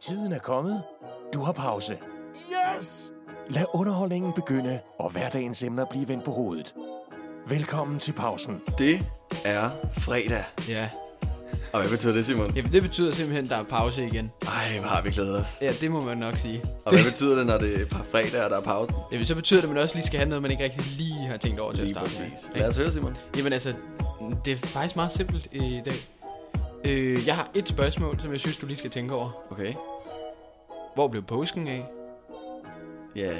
Tiden er kommet. Du har pause. Yes! Lad underholdningen begynde, og hverdagens emner blive vendt på hovedet. Velkommen til pausen. Det er fredag. Ja, Og hvad betyder det, Simon? Jamen, det betyder simpelthen, at der er pause igen. Ej, hvor har vi glædet os. Ja, det må man nok sige. Og hvad betyder det, når det er et par fredage, og der er pause? Jamen, så betyder det, at man også lige skal have noget, man ikke rigtig lige har tænkt over til Lige at starte præcis. med. Lad os høre, Simon. ikke? Jamen altså, det er faktisk meget simpelt i dag. Øh, jeg har et spørgsmål, som jeg synes, du lige skal tænke over. Okay. Hvor blev påsken af? Ja, ja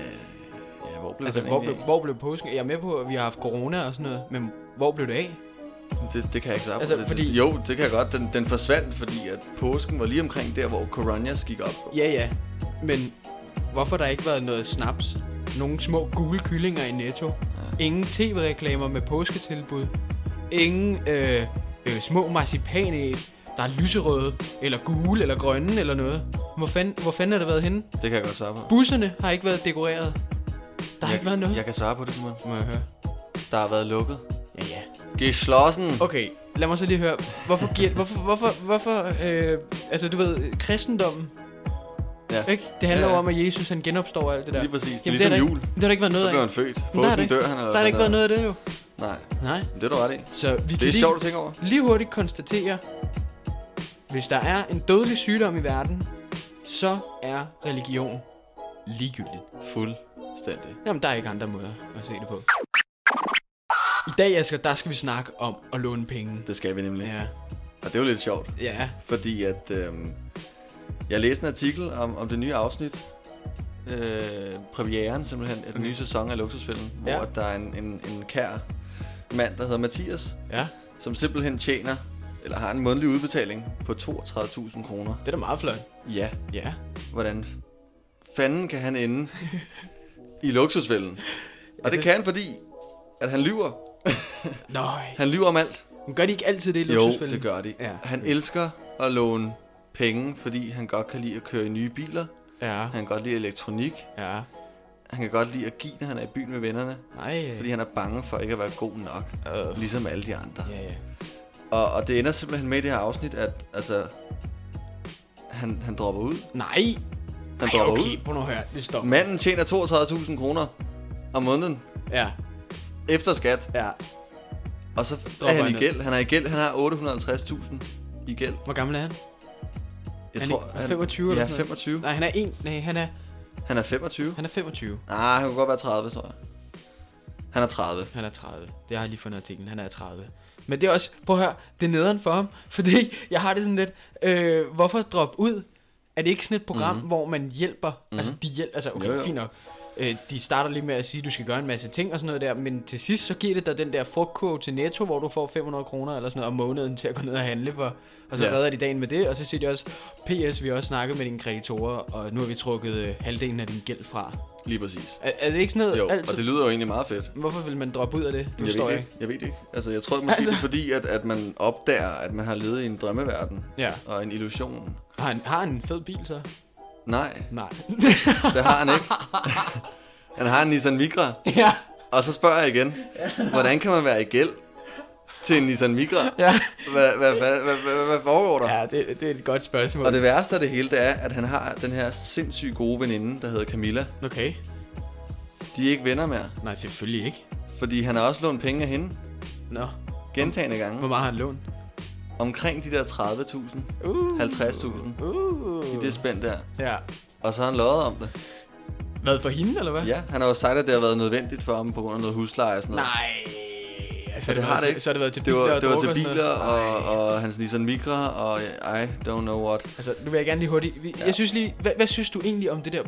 hvor blev Altså, den hvor blev, egentlig hvor blev påsken af? Jeg er med på, at vi har haft corona og sådan noget, men hvor blev det af? af? det, det kan jeg ikke svare på. Altså, det, fordi- det, jo, det kan jeg godt. Den, den forsvandt, fordi at påsken var lige omkring der, hvor Coronas gik op. Ja, ja. Men hvorfor har der ikke været noget snaps? Nogle små gule kyllinger i Netto? Ingen tv-reklamer med påsketilbud? Ingen øh, øh, små marcipanæg, der er lyserøde, eller gule, eller grønne, eller noget? Hvor fanden, hvor fanden har det været henne? Det kan jeg godt svare på. Busserne har ikke været dekoreret. Der har jeg, ikke været noget. Jeg kan svare på det, Simon. Må jeg høre? Der har været lukket. Ja, ja. Geschlossen. Okay, lad mig så lige høre. Hvorfor giver... Hvorfor... Hvorfor... hvorfor øh, altså, du ved, kristendommen, Ja. ikke? Det handler Ja, ja. jo om, at Jesus han genopstår og alt det der. Lige præcis. Jamen, Ligesom det har der jul. Ikke, det har der ikke været noget Så af. blev han født. Men der har Påsken der, dør ikke- han. eller Der har sådan der ikke været noget af det jo. Nej, Nej. det er du ret i. Så vi kan Det er lige, sjovt at tænke over. lige hurtigt konstatere, hvis der er en dødelig sygdom i verden, så er religion ligegyldigt. Fuldstændig. Jamen, der er ikke andre måder at se det på. I dag, Asger, der skal vi snakke om at låne penge. Det skal vi nemlig. Ja. Og det er jo lidt sjovt, Ja. fordi at øhm, jeg læste en artikel om, om det nye afsnit. Øh, premieren simpelthen af den nye sæson af Luksusfælden, hvor Ja. ja. der er en, en, en kær mand, der hedder Mathias, Ja. som simpelthen tjener, eller har en månedlig udbetaling på 32.000 kroner. Det er da meget flot. Ja, Ja. hvordan fanden kan han ende i luksusfælden? Og det det- kan han, fordi at han lyver. Nøj. Han lyver om alt. Men gør de ikke altid det i Jo, luksusfælden? det gør de. Ja. Han elsker at låne penge, fordi han godt kan lide at køre i nye biler. Ja. Han kan godt lide elektronik. Ja. Han kan godt lide at give, når han er i byen med vennerne. Nej. Fordi han er bange for ikke at være god nok. Øh. Ligesom alle de andre. Ja, ja. Og, og det ender simpelthen med i det her afsnit, at altså, han, han dropper ud. Nej. Han Ej, dropper okay. Prøv nu at høre. Det står. ud. Manden tjener 32.000 kroner om måneden Ja. efter skat. Ja. Og så Dropper er han han i ned. gæld. Han er i gæld. Han har 850.000 i gæld. Hvor gammel er han? Jeg Han er ikke- 25 eller ja, sådan noget. 25. Nej, han er en. Nej, han er, Han er 25. han er 25. Nej, han kunne godt være 30, tror jeg. Han er 30. Han er 30. Det har jeg lige fundet artiklen. Han er 30. Men det er også, prøv at høre, det er nederen for ham. Fordi jeg har det sådan lidt, øh, hvorfor droppe ud? Er det ikke sådan et program, mm-hmm. hvor man hjælper? Mm-hmm. Altså, de hjælper, altså okay, Mhm. Jo, jo, jo. jo. fint nok. Øh, de starter lige med at sige, at du skal gøre en masse ting og sådan noget der, men til sidst så giver det dig den der frugtkurve til Netto, hvor du får 500 kroner eller sådan noget om måneden til at gå ned og handle for, og så Ja. ja. redder de dagen med det, og så siger de også, PS, vi har også snakket med dine kreditorer, og nu har vi trukket øh, halvdelen af din gæld fra. Lige præcis. Er, er det ikke sådan noget? Jo, altid? og det lyder jo egentlig meget fedt. Hvorfor vil man droppe ud af det? Du Jeg står ved, det ikke. jeg ved det ikke. Altså, jeg tror måske, altså... Altså- det er fordi, at, at man opdager, at man har levet i en drømmeverden. Ja. Og en illusion. Har han, har han en fed bil så? Nej, Nej. det har han ikke. han har en Nissan Micra. ja. Og så spørger jeg igen, hvordan kan man være i gæld til en Nissan Micra? Ja, Hvad, hvad, hvad, hvad, hvad, hvad foregår der? ja det, det er et godt spørgsmål. Og det værste af det hele, det er, at han har den her sindssygt gode veninde, der hedder Camilla. Okay. De er ikke venner mere, Nej, selvfølgelig ikke. fordi han har også lånt penge af hende. Nå. Gentagende gange. Hvor meget har han lånt? Omkring de der 30.000, Uh. 50.000. Uh. I det spænd der. Ja. Og så har han løjet om det. Hvad for hende, eller hvad? Ja, han har jo sagt, at det har været nødvendigt for ham på grund af noget husleje og sådan noget. Nej. Altså, Og det har været det til- ikke. Så har det været til Det biler var, og det var drukker til og sådan biler og, noget. Nej. og hans Nissan Micra og I don't know what. Altså, nu vil jeg gerne lige hurtigt. Vi- Ja. Jeg synes lige, hvad, hvad synes du egentlig om det der?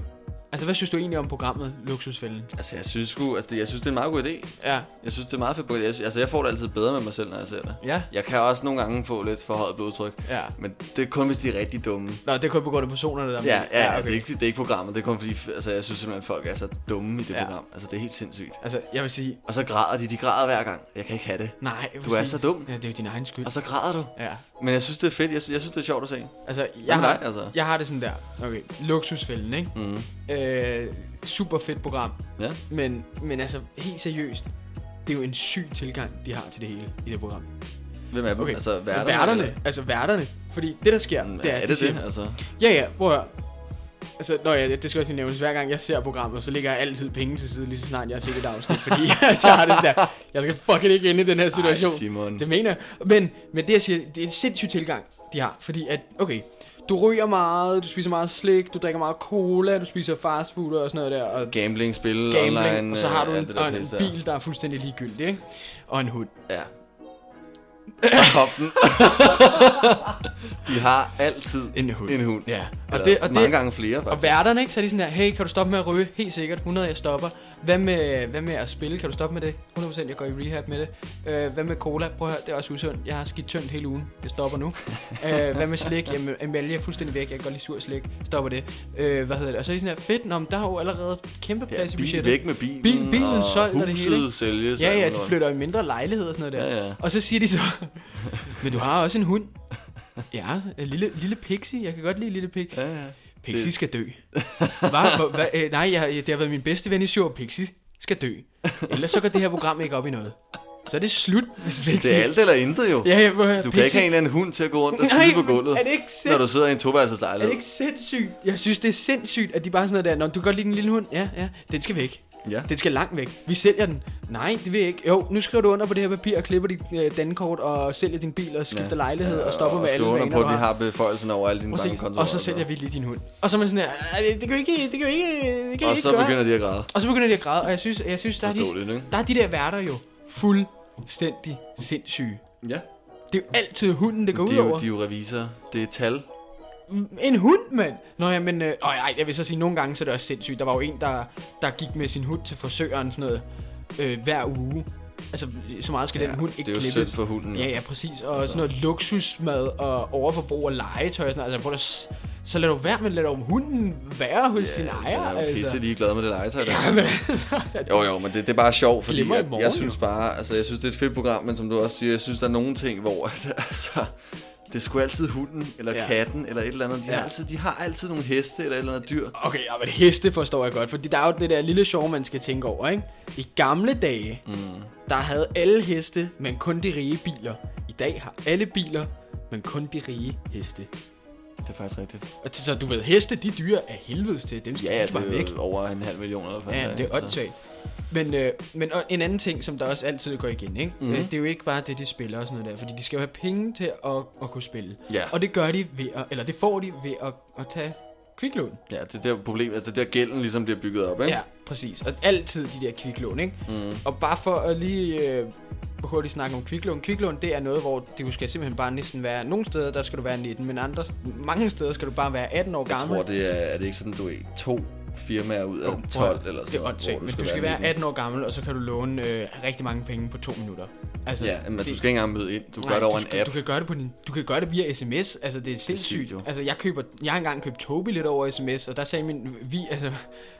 Altså, hvad synes du egentlig om programmet Luksusfælden? Altså, jeg synes sgu, altså, det, jeg synes, det er en meget god idé. Ja. Jeg synes, det er meget fedt. program. Jeg, sy- altså, jeg får det altid bedre med mig selv, når jeg ser det. Ja. Jeg kan også nogle gange få lidt for højt blodtryk. Ja. Men det er kun, hvis de er rigtig dumme. Nå, det er kun på grund af personerne, der er Ja, med. ja, ja okay. det, er ikke, det er ikke programmet. Det er kun fordi, f- altså, jeg synes simpelthen, at folk er så dumme i det ja. Ja. program. Altså, det er helt sindssygt. Altså, jeg vil sige, Og så græder de. De græder hver gang. Jeg kan ikke have det. nej. jeg vil Du er sige- så dum. Altså- Ja, det er jo din egen skyld. Og så græder du. Ja. Men jeg synes, det er fedt. Jeg synes, jeg synes det er sjovt at se. Altså, jeg, Jamen, har, nej, altså. jeg har det sådan der. Okay, luksusfælden, ikke? Mm. Øh, super fedt program. Ja. Men, men altså, helt seriøst. Det er jo en syg tilgang, de har til det hele i det program. Hvem er dem? Okay, Altså, værterne? værterne altså værterne. Fordi det, der sker, Mm, det er, er de det siger, det? Altså, Ja, ja, prøv at høre. Altså, nå ja, det skal også lige nævnes. Hver gang jeg ser programmet, så ligger jeg altid penge til side, lige så snart jeg har set et afsnit. fordi jeg har det sådan der, jeg skal fucking ikke ind i den her situation. Ej, Simon. Det mener jeg. Men, men det, jeg siger, det er en sindssyg tilgang, de har. Fordi at, okay, du ryger meget, du spiser meget slik, du drikker meget cola, du spiser fastfood og sådan noget der. Og Gambling, spil, gambling, online, og så har øh, du alt en, det og der en pis der. bil, der er fuldstændig ligegyldig, ikke? Og en hund. Ja. Hop den. de har altid En hund. En hund. Ja. Og det, og mange det, gange flere, Og faktisk. værterne, ikke? Så er de sådan der, hey, kan du stoppe med at ryge? Helt sikkert, 100, jeg stopper. Hvad med, hvad med at spille? Kan du stoppe med det? 100%, jeg går i rehab med det. Øh, hvad med cola? Prøv at høre, det er også usundt. Jeg har skidt tyndt hele ugen. Det stopper nu. øh, hvad med slik? Jamen, emalje er fuldstændig væk. Jeg kan godt lide sur slik. Stopper det. Øh, hvad hedder det? Og så er de sådan der, fedt, nå, men der er jo allerede kæmpe plads ja, i bil, budgettet. væk med bilen, Bil- bilen og solgt og det hele, huset ikke? sælges. Ja, og ja, alt de muligt. flytter jo i mindre lejligheder og sådan noget der. Ja, ja. Og så siger de så, men du har også en hund. Ja, en lille, lille pixie. Jeg kan godt lide lille pixie. Ja, ja. Pixie Det- skal dø. Hva? Hva? Hva? Øh, nej, jeg, det har været min bedste ven i syv år. Pixie skal dø. Ellers så går det her program ikke op i noget. Så er det slut, hvis Pixie... Det er alt eller intet jo. Ja, ja, prøv at høre, Du kan Pixie- ikke have en eller anden hund til at gå rundt og Nej, skide på men gulvet, er det ikke sind- når du sidder i en Er det toværelseslejlighed. ikke sindssygt? Jeg synes, det er sindssygt, at de bare sådan noget der. Nå, du kan godt lide den lille hund. Ja, ja. Den skal væk. Ja. Den skal langt væk. Vi sælger den. Nej, det vil jeg ikke. Jo, nu skriver du under på det her papir og klipper dit øh, dankort og sælger din bil og skifter ja. lejlighed og stopper med alle Og stå vaner, under på, du at vi har beføjelsen over alle dine Præcis. bankkontorer. Og så sælger vi lige din hund. Og så er man sådan her, "Ej, det, det kan vi ikke, det kan vi ikke, det kan vi Og ikke så gøre. begynder de at græde. Og så begynder de at græde, og jeg synes, jeg synes der, er Forståeligt, de, ikke? der er de der værter jo fuldstændig sindssyge. Ja. Det er jo altid hunden, det går De ud er jo, over. de er jo revisorer. Det er tal. En hund, mand! Nå ja, men øh, øh, ej, jeg vil så sige, nogle gange så er det også sindssygt. Der var jo en, der, der gik med sin hund til frisøren sådan noget øh, hver uge. Altså, så meget skal ja, den hund ikke det er jo klippes. synd for hunden. Ja, ja, præcis. Og sådan noget luksusmad og overforbrug og legetøj og sådan noget. Altså, prøv at, s- så lad du være med, lad dog hunden være hos sin ejer. altså. Jeg er jo pisse ligeglad med det legetøj. Der. Ja, men altså, Jo, jo, men det, det er bare sjovt, fordi Glemmer i jeg, morgen, jeg jo. synes bare, altså jeg synes, det er et fedt program, men som du også siger, jeg synes, der er nogle ting, hvor at, altså, det skulle altid hunden, eller Ja. ja. katten, eller et eller andet. De, ja. Ja. har altid, de har altid nogle heste, eller et eller andet dyr. Okay, ja, men heste forstår jeg godt, fordi der er jo det der lille sjov, man skal tænke over, ikke? I gamle dage, mm. der havde alle heste, men kun de rige biler. I dag har alle biler, men kun de rige heste. Det er faktisk rigtigt. Og t- så du ved, heste, de dyr er helvedes til. Dem skal Ja, ja, ikke bare væk. det er jo over en halv million. Eller Ja, det er åndssvagt. Men, øh, men og en anden ting, som der også altid går igen, ikke? Mm. det er jo ikke bare det, de spiller og sådan noget der, fordi de skal jo have penge til at, at kunne spille. Ja. Og det gør de ved at, eller det får de ved at, at tage kviklån. Ja, det er der problem, altså det er der gælden ligesom bliver bygget op, ikke? Ja, præcis. Og altid de der kviklån, ikke? Mm. Og bare for at lige øh, hurtigt snakke om kviklån. Kviklån, det er noget, hvor du skal simpelthen bare næsten være... Nogle steder, der skal du være 19, men andre, mange steder skal du bare være 18 år Jeg gammel. tror, det er, er det ikke sådan, du er to firmaer ud af 12 eller sådan Det er noget, åndssvagt, hvor men du skal være 19. 18 år gammel, og så kan du låne øh, rigtig mange penge på to minutter. Altså, Ja, men det- du skal ikke engang møde ind. Du gør Nej, det over du en skal- app. Du kan gøre det, på din, du kan gøre det via sms. Altså, det er sindssygt. sygt, jo. altså, jeg, køber, jeg har engang købt togbillet over sms, og der sagde min, vi, altså,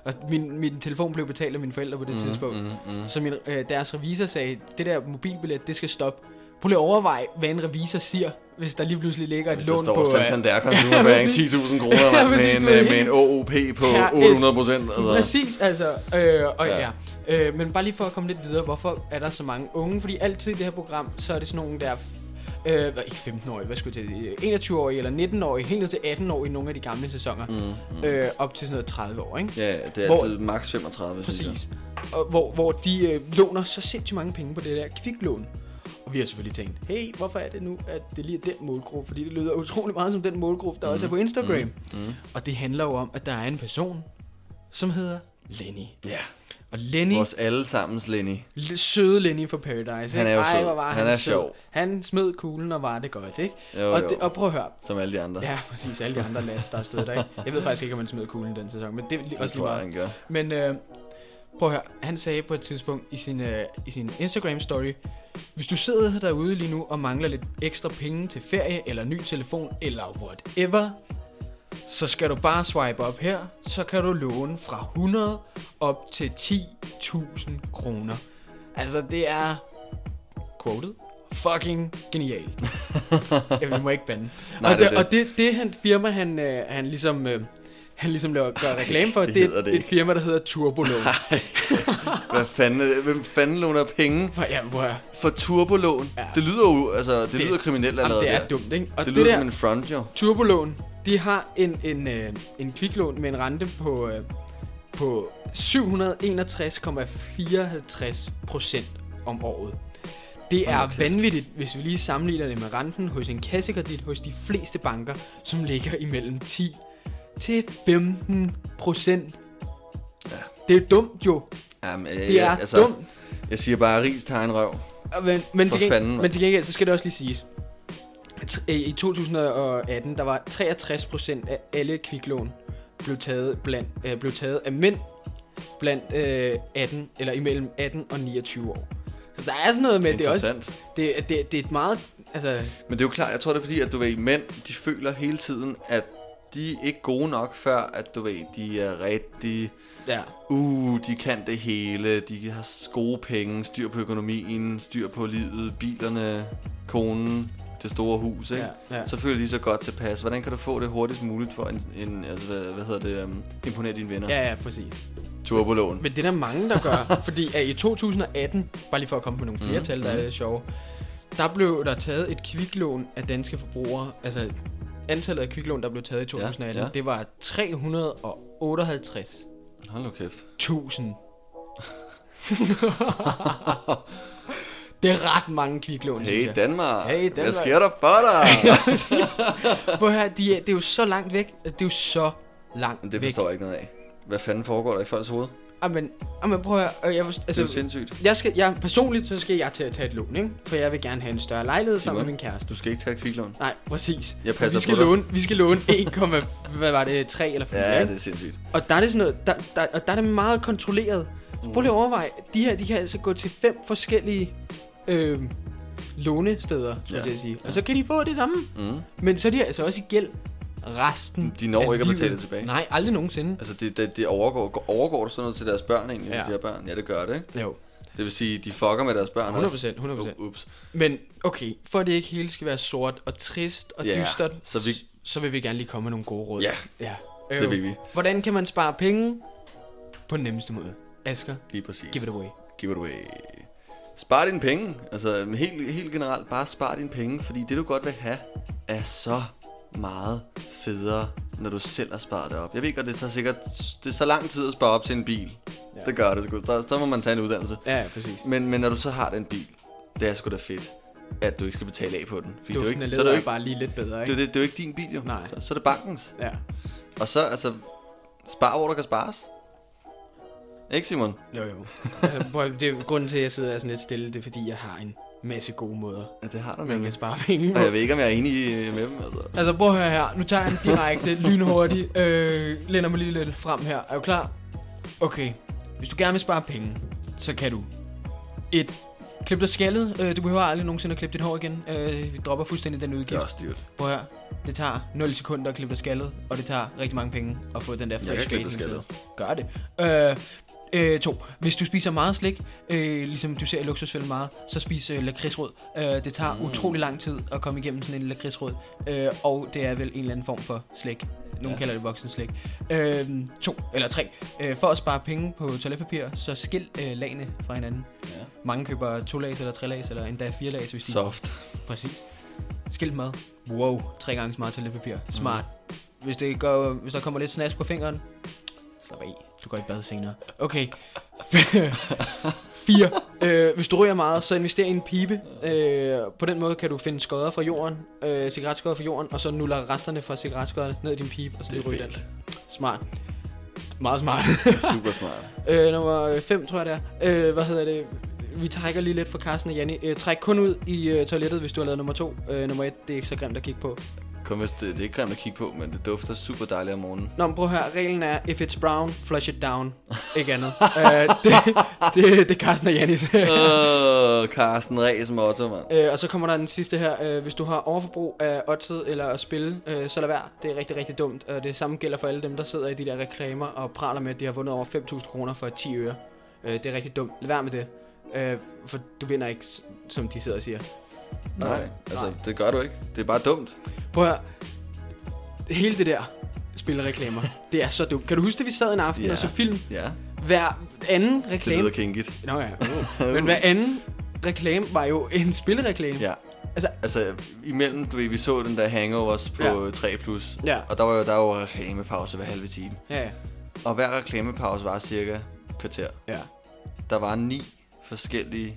og min, min telefon blev betalt af mine forældre på det mm, tidspunkt. Mm, mm. Så min, øh, deres revisor sagde, det der mobilbillet, det skal stoppe. Prøv lige at overveje, hvad en revisor siger, hvis der lige pludselig ligger et Hvis lån der på... øh, står Santander Consumer Bank, præcis. 10.000 Ja, kroner mand, præcis, med, en, du ved øh, med helt- en OOP på Ja, 800 procent. Altså. Præcis, altså. Øh, og ja. Ja. ja. Øh, men bare lige for at komme lidt videre, hvorfor er der så mange unge? Fordi altid i det her program, så er det sådan nogle der... Øh, hvad- ikke 15-årige, hvad skulle jeg til? 21-årige eller 19-årige, helt ned til 18-årige i nogle af de gamle sæsoner. Mm, mm. Øh, op til sådan noget 30 år, ikke? Ja, det er Hvor- altid maks 35, synes jeg. Præcis. Og hvor, hvor de øh, låner så sindssygt mange penge på det der kviklån. Og vi har selvfølgelig tænkt, hey, hvorfor er det nu, at det lige er den målgruppe? Fordi det lyder utrolig meget som den målgruppe, der også er på Instagram. Mm. Mm. Og det handler jo om, at der er en person, som hedder Lenny. Ja, Og Lenny, vores allesammens Lenny. l- søde Lenny fra Paradise. Han er ikke? jo Ej, sød. hvor var han, Han er sød. sjov. Han smed kuglen og var det godt, ikke? Jo, og, jo. Det, og prøv at høre. Som alle de andre. Ja, præcis. Alle de andre lads, der stod der, ikke? Jeg ved faktisk ikke, om han smed kuglen den sæson, men det er lige- også lige tror jeg, meget. han Men øh, prøv at høre. Han sagde på et tidspunkt i sin, øh, i sin Instagram-story, hvis du sidder derude lige nu og mangler lidt ekstra penge til ferie, eller ny telefon, eller whatever, så skal du bare swipe op her, så kan du låne fra 100 op til 10.000 kroner. Altså, det er quoted fucking genialt. Jamen, vi må ikke bande. Nej, og det er det, det. og det, det han firma, han, øh, han ligesom, øh, han ligesom laver, gør reklame for, det det, det, hedder er det et, et ikke. firma, der hedder Turbolån. gør. Hvad fanden, er det? hvem fanden låner penge For, ja, hvor, jamen, for turbolån? Ja. Det lyder jo, altså, det, Det- lyder kriminelt allerede det er der. dumt, ikke? det Og det, lyder der som en front, jo. Turbolån, de har en, en, øh, en kviklån med en rente på, øh, på 761,54 procent om året. Det er Hold kæft. vanvittigt, hvis vi lige sammenligner det med renten hos en kassekredit hos de fleste banker, som ligger imellem 10 til 15 procent. Ja. Det er dumt jo. Jamen, øh, Det er altså, dumt. Jeg siger bare, at ris tager en røv. Og Men, For men, til gengæld, fanden, mand. men til gengæld, så skal det også lige siges. at tr- øh, I 2018, der var 63% af alle kviklån blev taget, blandt, øh, blev taget af mænd blandt øh, 18, eller imellem 18 og 29 år. Så der er sådan noget med, det er også, Interessant. Også... det, det, det er et meget, altså, Men det er jo klart, jeg tror det er fordi, at du ved, mænd, de føler hele tiden, at de er ikke gode nok, før at du ved, de er rigtig, ja, uh, de kan det hele, de har s- gode penge, styr på økonomien, styr på livet, bilerne, konen, det store hus, ikke? Ja, ja. Så føler de så godt tilpas. Hvordan kan du få det hurtigst muligt for en, en altså, hvad, hvad hedder det, um, imponere dine venner? ja, ja, præcis. Turbolån. Men det er der mange, der gør, fordi at i 2018, bare lige for at komme på nogle Mhm. flere mm, tal, der er lidt sjove, der blev der taget et kviklån af danske forbrugere, altså antallet af kviklån, der blev taget i 2018, ja, ja. ja. det var 358.000. Hold nu kæft. det er ret mange kviklån, synes Hey jeg. Danmark, Hey, hvad Danmark. sker der for dig? Prøv at høre, de er, det er jo så langt væk, altså, det er jo så langt Men det væk. forstår jeg ikke noget af. Hvad fanden foregår der i folks hoved? Det Amen, amen, prøv at høre, øh, jeg, forst- er jo altså, sindssygt. jeg skal, jeg, personligt så skal jeg til at tage et lån, ikke? for jeg vil gerne have en større lejlighed sammen Simon. med min kæreste. Du skal ikke tage et kviklån. Nej, præcis. Jeg passer vi skal på dig. låne, Vi skal låne 1, hvad var det, 3 eller 4, Ja, ja, det er sindssygt. Og der er det sådan noget, der, der, og der er det meget kontrolleret. Så prøv lige at overveje, de her, de kan altså gå til fem forskellige øh, lånesteder, så Ja, ja. jeg sige. ja. Og så kan de få det samme. Mm. Men så er de altså også i gæld resten De når af ikke at betale livet. det tilbage. Nej, aldrig nogensinde. Altså, det, det, det overgår, går- overgår du sådan noget til deres børn egentlig, ja. Ja. hvis de har børn? Ja, det gør det, ikke? Jo, Det vil sige, de fucker med deres børn 100%, 100%. U- Ups. Men okay, for at det ikke hele skal være sort og trist og Ja, dystert, så vi- s- så vil vi gerne lige komme med nogle gode råd. Ja, ja. det vil vi. Hvordan kan man spare penge på den nemmeste måde? Asger, Lige præcis. give it away. Give it away. Spar dine penge. Altså, helt, helt generelt, bare spar dine penge, fordi det, du godt vil have, er så meget federe, når du selv har sparet det op. Jeg ved godt, det tager sikkert det er så lang tid at spare op til en bil. Ja. Ja. Det gør det sgu. Der, så må man tage en uddannelse. Ja, ja, præcis. Men, men når du så har den bil, det er sgu da fedt, at du ikke skal betale af på den. Fordi det er jo Duften ikke, af så er det leder jo er ikke, bare lige lidt bedre, det, er ikke? jo det, det er jo ikke din bil, jo. Nej. Så, så er det bankens. Ja. Og så, altså, spar, hvor der kan spares. Ikke, Simon? Jo, jo. Altså, prøv, at- det er grunden til, at jeg sidder sådan lidt stille, det er fordi, jeg har en masse gode måder, Ja, det har du man nemlig. kan spare penge på. Og jeg ved ikke, om jeg er enig øh, med dem, altså. Altså, prøv at høre her. Nu tager jeg den direkte, lynhurtigt. Øh, lænder mig lige lidt frem her. Er du klar? Okay. Hvis du gerne vil spare penge, så kan du. 1. Klip dig skaldet. Øh, du behøver aldrig nogensinde at klippe dit hår igen. Øh, vi dropper fuldstændig den Det udgift. er også dyrt. Prøv her. Det tager 0 sekunder at klippe dig skaldet, og det tager rigtig mange penge at få den der fresh kan klippe fade dig skaldet. til. Gør det. Øh, øh, to. Hvis du spiser meget slik, øh, ligesom du ser i luksusfælden meget, så spis øh, lakridsrød. Øh, det tager mm. utrolig lang tid at komme igennem sådan en lakridsrød, øh, og det er vel en eller anden form for slik. Nogle Ja. ja. kalder det voksen slik. Øh, to eller tre. Øh, for at spare penge på toiletpapir, så skil øh, lagene fra hinanden. Ja. Mange køber to lags eller tre lags, eller endda fire lags, hvis de Soft. Præcis. Skilt mad. Wow, tre gange så meget toiletpapir. Smart. Mm. Hvis, det går, hvis der kommer lidt snask på fingeren, slap af. Du går i bad senere. Okay. Fire. Øh, hvis du ryger meget, så invester i en pibe. Øh, på den måde kan du finde skodder fra jorden, øh, cigaretskodder fra jorden, og så nuller resterne fra cigaretskodder ned i din pibe, og så Det lige er ryger den. fedt. Smart. Meget smart. Super smart. Øh, nummer 5, tror jeg det er. Øh, hvad hedder det? Vi trækker lige lidt fra Carsten og Janni. Øh, træk kun ud i øh, toilettet, hvis du har lavet nummer 2. Øh, nummer 1, det er ikke så grimt at kigge på. Kom, hvis det, det er ikke grimt at kigge på, men det dufter super dejligt om morgenen. Nå, men prøv at høre. Reglen er, if it's brown, flush it down. Ikke andet. øh, det, det, det er Carsten og øh, Jannis. Åh, Carsten Ræs motto, mand. Øh, og så kommer der den sidste her. Øh, hvis du har overforbrug af oddset eller at spille, øh, så lad være. Det er rigtig, rigtig dumt. Og det samme gælder for alle dem, der sidder i de der reklamer og praler med, at de har vundet over 5.000 kroner for 10 øre. Øh, det er rigtig dumt. Lad være med det. Øh, for du vinder ikke, s- som de sidder og siger. Nej, altså, det gør du ikke. Det er bare dumt. Prøv at høre. Hele det der spillereklamer, det er så dumt. Kan du huske, at vi sad en aften Ja. og så film Ja, hver anden det reklame? lyder kinkigt. Nå ja, uh. men hver anden reklame var jo en spillereklame. Ja, Altså, Altså, imellem, du ved, vi så den der hangovers på Ja. ja. 3+, plus, Ja. og der var jo der var jo reklamepause hver halve time. ja, ja. Og hver reklamepause var cirka et kvarter. ja. Der var ni forskellige,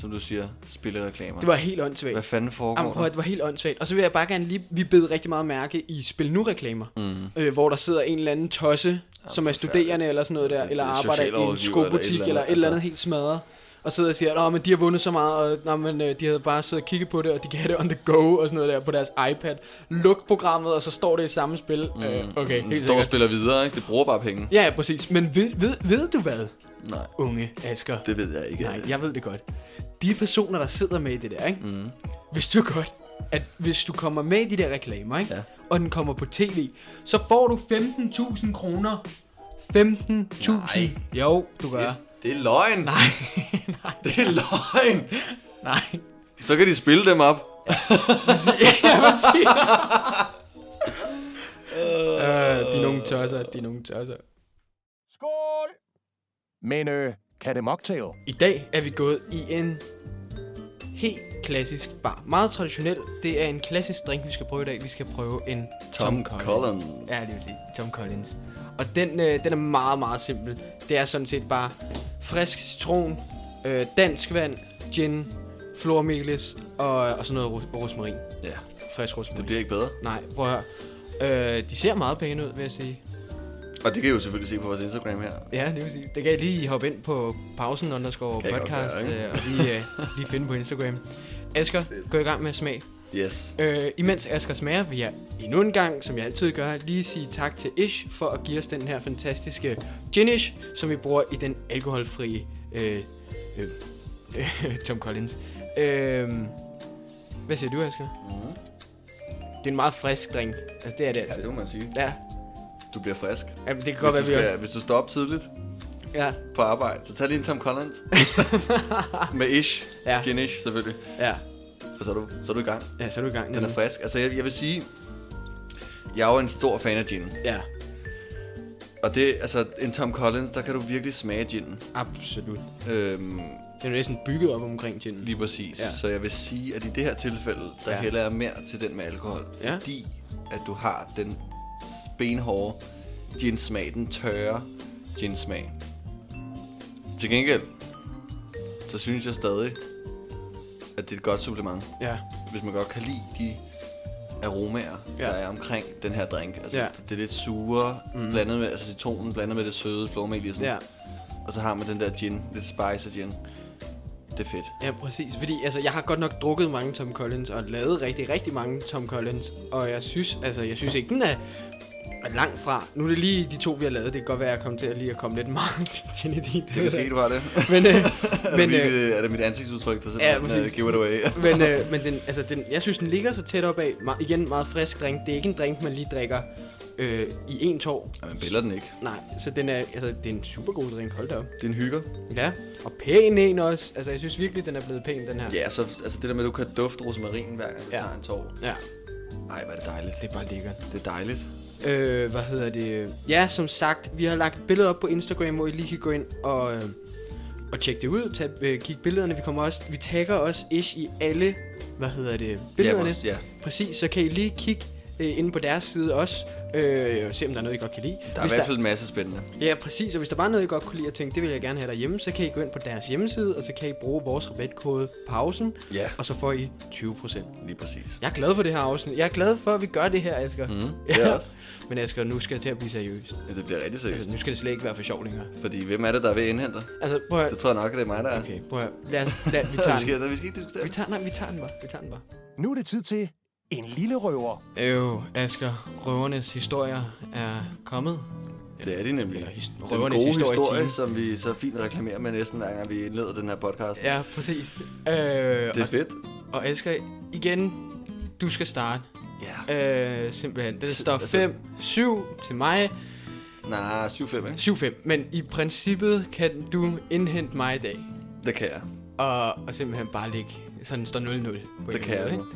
som du siger, spillereklamer. Det var helt åndssvagt. Hvad fanden foregår Jamen, prøv, at, der? det var helt åndssvagt. Og så vil jeg bare gerne lige... Vi bed rigtig meget mærke i Spil Nu-reklamer. Mm. Øh, hvor der sidder en eller anden tosse, som er forfærdeligt. studerende eller sådan noget der, Det- det eller er arbejder i en socialrådgiver skobutik, eller et eller andet, eller et altså. helt smadret. Og sidder og siger, at men de har vundet så meget, og nå, men, øh, de havde bare siddet og kigget på det, og de kan have det on the go, og sådan noget der på deres iPad. Luk programmet, og så står det i samme spil. Mm. Øh, okay, Den helt står og sikkert. spiller videre, ikke? Det bruger bare penge. Ja, ja, præcis. Men ved, ved, ved du hvad, Nej, unge Asger? det ved jeg ikke. Nej, jeg ved det godt. De personer, der sidder med i det der, ikke? Mm. Hvis du godt, at hvis du kommer med i de der reklamer, ikke? Ja. og den kommer på tv, så får du 15.000 kroner. 15.000. Nej. Jo, du gør. Det er løgn! Nej, nej, Det er løgn! nej. Så kan de spille dem op. Jeg vil sige. øh, de er nogle tosser, de er nogle tosser. Skål! Men øh, kan det mocktail? I dag er vi gået i en helt klassisk bar. Meget traditionel. Det er en klassisk drink, vi skal prøve i dag. Vi skal prøve en Tom Collins. Ja, det vil sige Tom Collins. Og den, øh, den er meget, meget simpel. Det er sådan set bare frisk citron, øh, dansk vand, gin, flormelis og, og sådan noget ros- rosmarin. Ja, Frisk det rosmarin. bliver ikke bedre. Nej, prøv at høre. Øh, de ser meget pæne ud, vil jeg sige. Og det kan I jo selvfølgelig se på vores Instagram her. Ja, det vil sige. Det kan jeg lige hoppe ind på pausen, underscore Kan jeg godt podcast, gøre, ikke? øh, og lige, øh, lige finde på Instagram. Asger, gå i gang med smag. Yes. Øh, imens Asger smager, vil jeg endnu en gang, som jeg altid gør, lige sige tak til Ish for at give os den her fantastiske ginish, som vi bruger i den alkoholfrie øh, øh, øh, Tom Collins. Øh, hvad siger du, Asger? Mhm. Det er en meget frisk drink. Altså, det er det Ja, altså. det må man sige. Ja, Du bliver frisk. Jamen, det kan godt Hvis du, være, vi også... skal, hvis du står op tidligt Ja, på arbejde, så tag lige en Tom Collins. Med ish. Ja. Ja. Gin ish, selvfølgelig. ja. Og så er du, så er du i gang. Ja, så er du i gang. Den er frisk. Altså, jeg, jeg vil sige, jeg er jo en stor fan af gin. Ja, Og det, altså, en Tom Collins, der kan du virkelig smage ginen. absolut. Øhm, Den er næsten bygget op omkring ginen. lige præcis. Ja. Ja. Så jeg vil sige, at i det her tilfælde, der Ja. ja. hælder jeg mere til den med alkohol. Ja. Fordi, at du har den benhårde gin-smag, den tørre gin-smag. Til gengæld, så synes jeg stadig, at det er et godt supplement. Ja, hvis man godt kan lide de aromaer, Ja. ja. der er omkring den her drink. Altså, Ja. Mhm. ja. det er lidt sure, mm. blandet med, altså citronen blandet med det søde flormelisen. ja. Og så har man den der gin, lidt spice af gin. Det er fedt. Ja, præcis. Fordi altså, jeg har godt nok drukket mange Tom Collins, og lavet rigtig, rigtig mange Tom Collins. Og jeg synes, altså, jeg synes ikke, den er, er langt fra. Nu er det lige de to, vi har lavet. Det kan godt være, at jeg kom til at lige at komme lidt meget til det. Det Det kan ske, du har det. Men, øh, Men, er, men, det øh, mit, øh, er det mit ansigtsudtryk, der Ja, simpelthen ja, præcis. giver det away? men, øh, men den, altså, den, jeg synes, den ligger så tæt op af. Me- igen, meget frisk drink. Det er ikke en drink, man lige drikker øh, i en tår. Ja, man biller den ikke. Nej, så den er, altså, det er en super god drink. Hold da op. Det er en hygger. Ja, og pæn en også. Altså, jeg synes virkelig, den er blevet pæn, den her. Ja, så altså det der med, at du kan dufte rosmarin, hver gang du Ja. ja. tager en tår. ja. Ej, hvor er det dejligt. Det er bare lækkert. Det er dejligt. Øh, hvad hedder det? Ja, som sagt, vi har lagt et billede op på Instagram, hvor I lige kan gå ind og, øh, og tjekke det ud. Tag, øh, kig billederne. Vi, kommer også, vi tagger også ish i alle, hvad hedder det, Ja, billederne. vores- ja. Præcis, så kan I lige kigge øh, inde på deres side også, øh, og se om der er noget, I godt kan lide. Der er i hvert fald en masse spændende. Ja, præcis, og hvis der var noget, I godt kunne lide og tænke, det vil jeg gerne have derhjemme, så kan I gå ind på deres hjemmeside, og så kan I bruge vores rabatkode PAUSEN, Ja, og så får I 20%. lige præcis. Jeg er glad for det her afsnit. Jeg er glad for, at vi gør det her, Asger. Mm, det er også. Men Asger, nu skal jeg til at blive seriøs. Ja, det bliver rigtig seriøst. Altså, nu skal det slet ikke være for sjov længere. Fordi hvem er det, der er ved at indhente dig? Altså, prøv at... Det tror jeg nok, at det er mig, der er. Okay, prøv at... Lad os... Lad, vi Vi, tager den. skal, vi skal ikke diskutere. Vi tager, nej, vi tager den bare. Vi tager den bare. Nu er det tid til en lille røver. Øh, Asger, røvernes historier er kommet. Det er de nemlig. Eller his- Den røvernes gode historie historie, time. som vi så fint reklamerer med næsten hver gang, vi indleder den her podcast. Ja, præcis. Øh, Det er fedt. og, og Asger, igen, du skal starte. Ja. Øh, simpelthen. Det Altså- står 5-7 til mig. Nej, 7-5, ikke? 7-5. Men i princippet kan du indhente mig i dag. Det kan jeg. Og, og simpelthen bare ligge. Sådan står 0-0. på en eller Det anden kan måde, jeg. ikke? nu.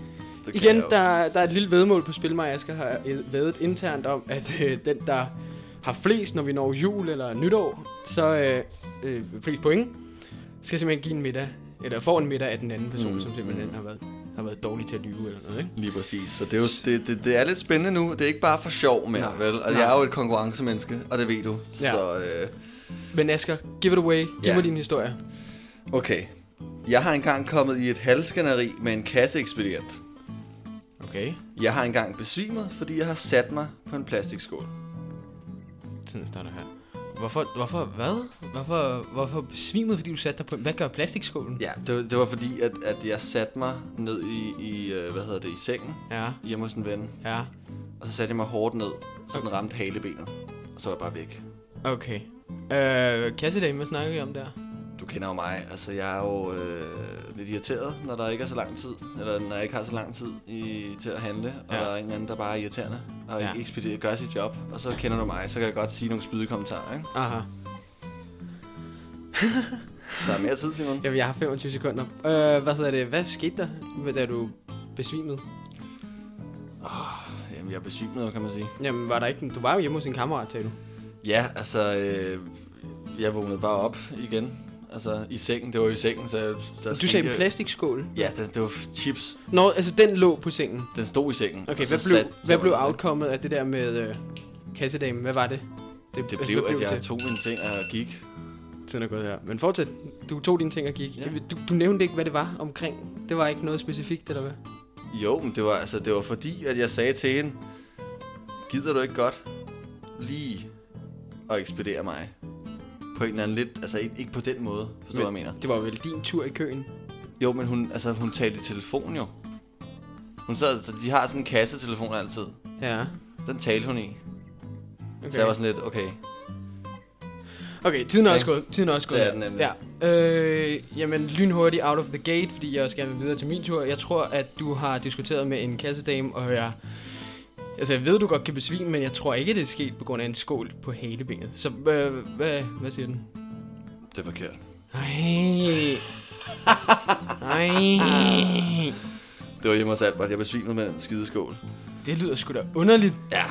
Det kan Igen, jeg jo. der, der er et lille vedmål på Spil mig, Asger har øh, vædet internt om, at øh, den, der har flest, når vi når jul eller nytår, så øh, øh, flest point, skal simpelthen give en middag, eller får en middag af den anden person, mm, Mm, som simpelthen mm. har været. har været dårlig til at lyve eller noget, ikke? Lige præcis. Så det er, jo, det, det, det er lidt spændende nu. Det er ikke bare for sjov mere, Nej. vel? Og Nej. jeg er jo et konkurrencemenneske, og det ved du. Ja. Så, øh, Men Asger, give it away. Giv Ja. mig din historie. okay. Jeg har engang kommet i et halsskænderi med en kasseekspedient. Okay, Jeg har engang besvimet, fordi jeg har sat mig på en plastikskål. sådan står der her. Hvorfor, hvorfor hvad? Hvorfor, hvorfor besvimede, fordi du satte dig på... Hvad gør plastikskålen? Ja, det, var- det var fordi, at, at jeg satte mig ned i, i, øh, hvad hedder det, i sengen Ja, hjemme hos en ven. ja. Og så satte jeg mig hårdt ned, så den ramte halebenet. Og så var jeg bare væk. Okay. Øh, kassedame, hvad snakker vi om der? Du kender jo mig, altså jeg er jo øh, lidt irriteret, når der ikke er så lang tid, eller når jeg ikke har så lang tid i, til at handle, og Ja. ja. der er en eller anden, der bare er irriterende, og Ja. ja. ikke ekspederer, gør sit job, og så kender du mig, så kan jeg godt sige nogle spydige kommentarer, ikke? Aha. Der er mere tid, Simon. Jamen, jeg har 25 sekunder. Øh, hvad hedder det? Hvad skete der, med- da du besvimede? Jamen, jeg er besvimlet, kan man sige. Jamen, var der ikke... en- Du var jo hjemme hos en kammerat, sagde du. Ja, altså, øh, jeg vågnede bare op igen, altså i sengen, det var jo i sengen, så... jeg- Der Du skulle sagde ikke- plastikskål. Ja, det, det var chips. Nå, altså den lå på sengen. Den stod i sengen. Okay, og så hvad blev, satte- hvad blev så- outcomet af det der med øh, kassedamen? Hvad var det? Det altså, blev, hvad at jeg til? tog en ting og gik. Tiden er gået her. Men fortsæt. Du tog dine ting og gik. Ja. Du, du nævnte ikke, hvad det var omkring. Det var ikke noget specifikt, eller hvad? Jo, men det var, altså, det var fordi, at jeg sagde til hende, gider du ikke godt lige at ekspedere mig? På en eller anden lidt, altså ikke, ikke på den måde, forstår du, hvad jeg mener? Det var vel din tur i køen. Jo, men hun, altså, hun talte i telefon jo. Hun sad, så de har sådan en kassetelefon altid. Ja. Den talte hun i. Okay. Okay. Så jeg var sådan lidt, okay. Okay, tiden er Ja. også gået. Tiden er også gået. Det er den nemlig. Ja. Øh, jamen, lynhurtigt out of the gate, fordi jeg også gerne vil videre til min tur. Jeg tror, at du har diskuteret med en kassedame, og jeg... Altså, jeg ved, du godt kan besvime, men jeg tror ikke, det er sket på grund af en skål på halebenet. Så, øh, hvad, hvad siger den? Det er forkert. Ej. Ej. Det var hjemme hos Albert. Jeg besvimede med den skide skål. Det lyder sgu da underligt. Ja,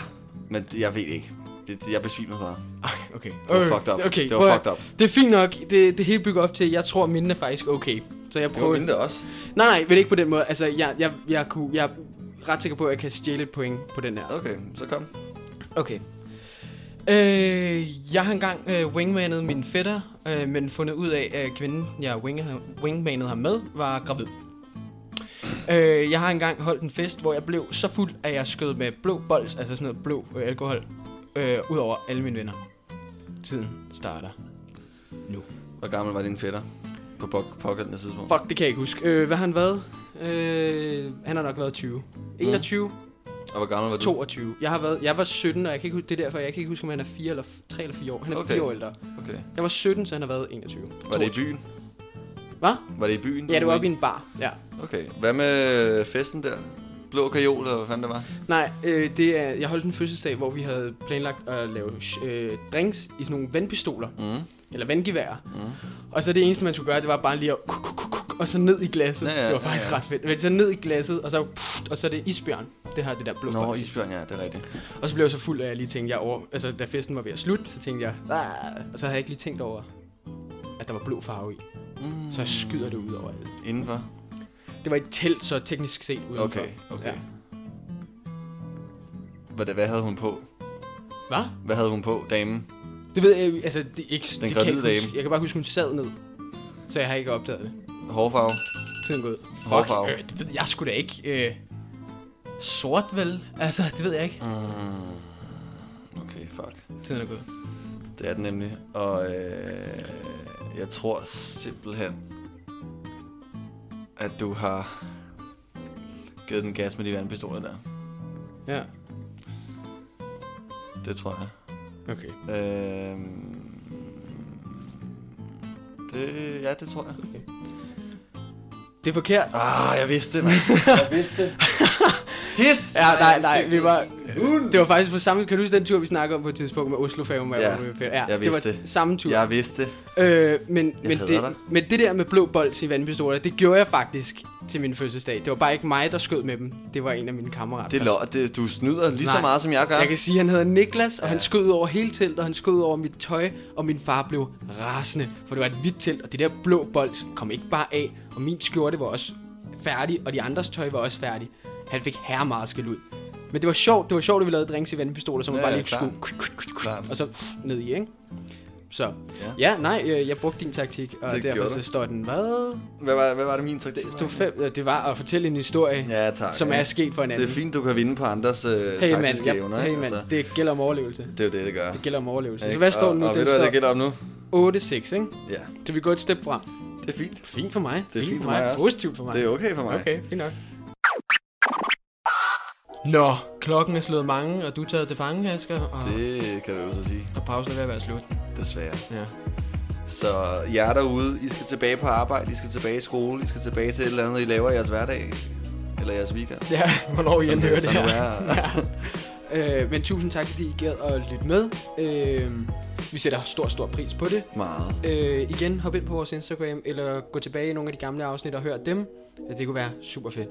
men det- jeg ved ikke. Det, det- jeg besvimede bare. Ej, okay. var fucked up. Det var prøv at- fucked up. Det er fint nok. Det, det hele bygger op til, jeg tror, minden er faktisk okay. Så jeg Det var prøver... mindre også. Nej, nej, men ikke på den måde. Altså, jeg, jeg, jeg, kunne, jeg er ret sikker på, at jeg kan stjæle et point på den her. Okay, så kom. Okay. Øh, jeg har engang øh, wingmanet min fætter, øh, men fundet ud af, at kvinden, jeg wingede, wingmanede ham med, var gravid. Øh, jeg har engang holdt en fest, hvor jeg blev så fuld, at jeg skød med blå bols, altså sådan noget blå øh, alkohol, øh, ud over alle mine venner. Tiden starter. Hvor gammel var din fætter? På pok- pågældende tidspunkt. Fuck, det kan jeg ikke huske. Øh, hvad har han været? Øh, han har nok været 20. 21, Og hvor gammel var du? 22. Jeg har været, jeg var 17, og jeg kan ikke huske, det er derfor, jeg kan ikke huske, om han er 4 eller 3 eller 4 år. Han er Okay. 4 år ældre. Okay. Jeg var 17, så han har været 21. Var det i byen? Hvad? Var det i byen? Ja, det var oppe i byen. en bar. Ja. Okay. Hvad med festen der? Blå kajol, eller hvad fanden det var? Nej, øh, det er, jeg holdt en fødselsdag, hvor vi havde planlagt at lave øh, drinks i sådan nogle vandpistoler, Mm. eller vandgeværer. Mm. Og så det eneste, man skulle gøre, det var bare lige at kuk, kuk, kuk, kuk, og så ned i glasset. Ja, ja, det var ja, faktisk ja. ret fedt. Men så ned i glasset, og så pff, og så er det isbjørn. Det her, det der blå Nå, boks. Isbjørn, ja, det er rigtigt. Og så blev jeg så fuld, at jeg lige tænkte, jeg over, altså da festen var ved at slutte, så tænkte jeg, "Ah," og så havde jeg ikke lige tænkt over, at der var blå farve i. Mm. Så skyder det ud over alle. Indenfor? Det var et telt, så teknisk set udenfor. Okay, okay. Ja. Hvad, hvad havde hun på? Hvad? Hvad havde hun på, damen? Det ved jeg, altså, det er ikke... det kan jeg gravide ikke huske. dame. Jeg kan bare huske, hun sad ned. Så jeg har ikke opdaget det. Hårfarve? Tiden gået. Hårfarve. øh, det ved jeg sgu da ikke. Øh, sort vel? Altså, det ved jeg ikke. Mm. Okay, fuck. Tiden er gået. Det er den nemlig. Og øh, jeg tror simpelthen, at du har givet den gas med de vandpistoler der. Ja, Det tror jeg. okay. Øh, Øhm, det, ja, det tror jeg. Det er forkert. Ah, jeg vidste det, mand. Jeg vidste det. His! Ja, nej, nej, vi var... Det var faktisk på samme... Kan du huske den tur, vi snakkede om på et tidspunkt med Oslofærgen? hvor jeg Ja, var med- jeg det var vidste det. samme tur. Jeg vidste det. Øh, men, men, hader det, dig. men det der med blå bold i vandpistoler, det gjorde jeg faktisk til min fødselsdag. Det var bare ikke mig, der skød med dem. Det var en af mine kammerater. Det er løg. det, du snyder lige Nej. så meget, som jeg gør. Jeg kan sige, at han hedder Niklas, og ja. Ja. han skød ud over hele teltet, og han skød ud over mit tøj, og min far blev rasende, for det var et hvidt telt, og det der blå bold kom ikke bare af, og min skjorte var også færdig, og de andres tøj var også færdig. Han fik herre meget skæld ud. Men det var sjovt, det var sjovt, at vi lavede drinks i vandpistoler, som Ja, ja, bare ja, lige klart. skulle... Kuk, kuk, kuk, kuk, Klart. og så ned i, ikke? Så, Ja. ja, ja nej, øh, jeg brugte din taktik, og Det det gjorde derfor du. så står den, hvad? Hvad var, hvad var det min taktik? Det, stod fem, øh, det var at fortælle en historie, ja, Ja, tak. som ja. er sket for en Det anden. er fint, du kan vinde på andres øh, hey mand, taktiske jeg, evner. hey ikke? mand, Altså, det gælder om overlevelse. det er jo det, det gør. Det gælder om overlevelse. Så Ikke? hvad står og, den nu? Og Den ved du, hvad det står gælder om nu? 8-6, ikke? Ja, Så vi går et step frem. det er fint. Fint for mig. er fint for mig også. Positivt for mig. Det er okay for mig. Okay, fint nok. Nå, klokken er slået mange, og du er taget til fange, Asger, og, Det kan vi jo så sige, og pausen er ved at være slut. desværre. Ja. Så jer derude, I skal tilbage på arbejde, I skal tilbage i skole, I skal tilbage til et eller andet, I laver i jeres hverdag. Eller jeres weekend. Ja, hvornår I end hører det sådan her. er. Øh, men tusind tak, fordi I gad at lytte med. Øh, vi sætter stor, stor pris på det. Meget. Øh, igen, hop ind på vores Instagram, eller gå tilbage i nogle af de gamle afsnit og hør dem. Ja, Det kunne være super fedt.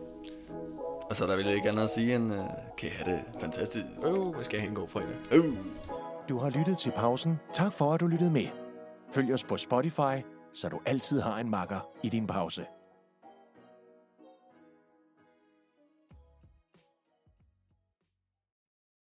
Og så er der vil jeg ikke andet at sige end, øh, kan I have det fantastisk. Åh, oh, skal jeg have en god fredag. Øh. Du har lyttet til pausen. Tak for, at du lyttede med. Følg os på Spotify, så du altid har en makker i din pause.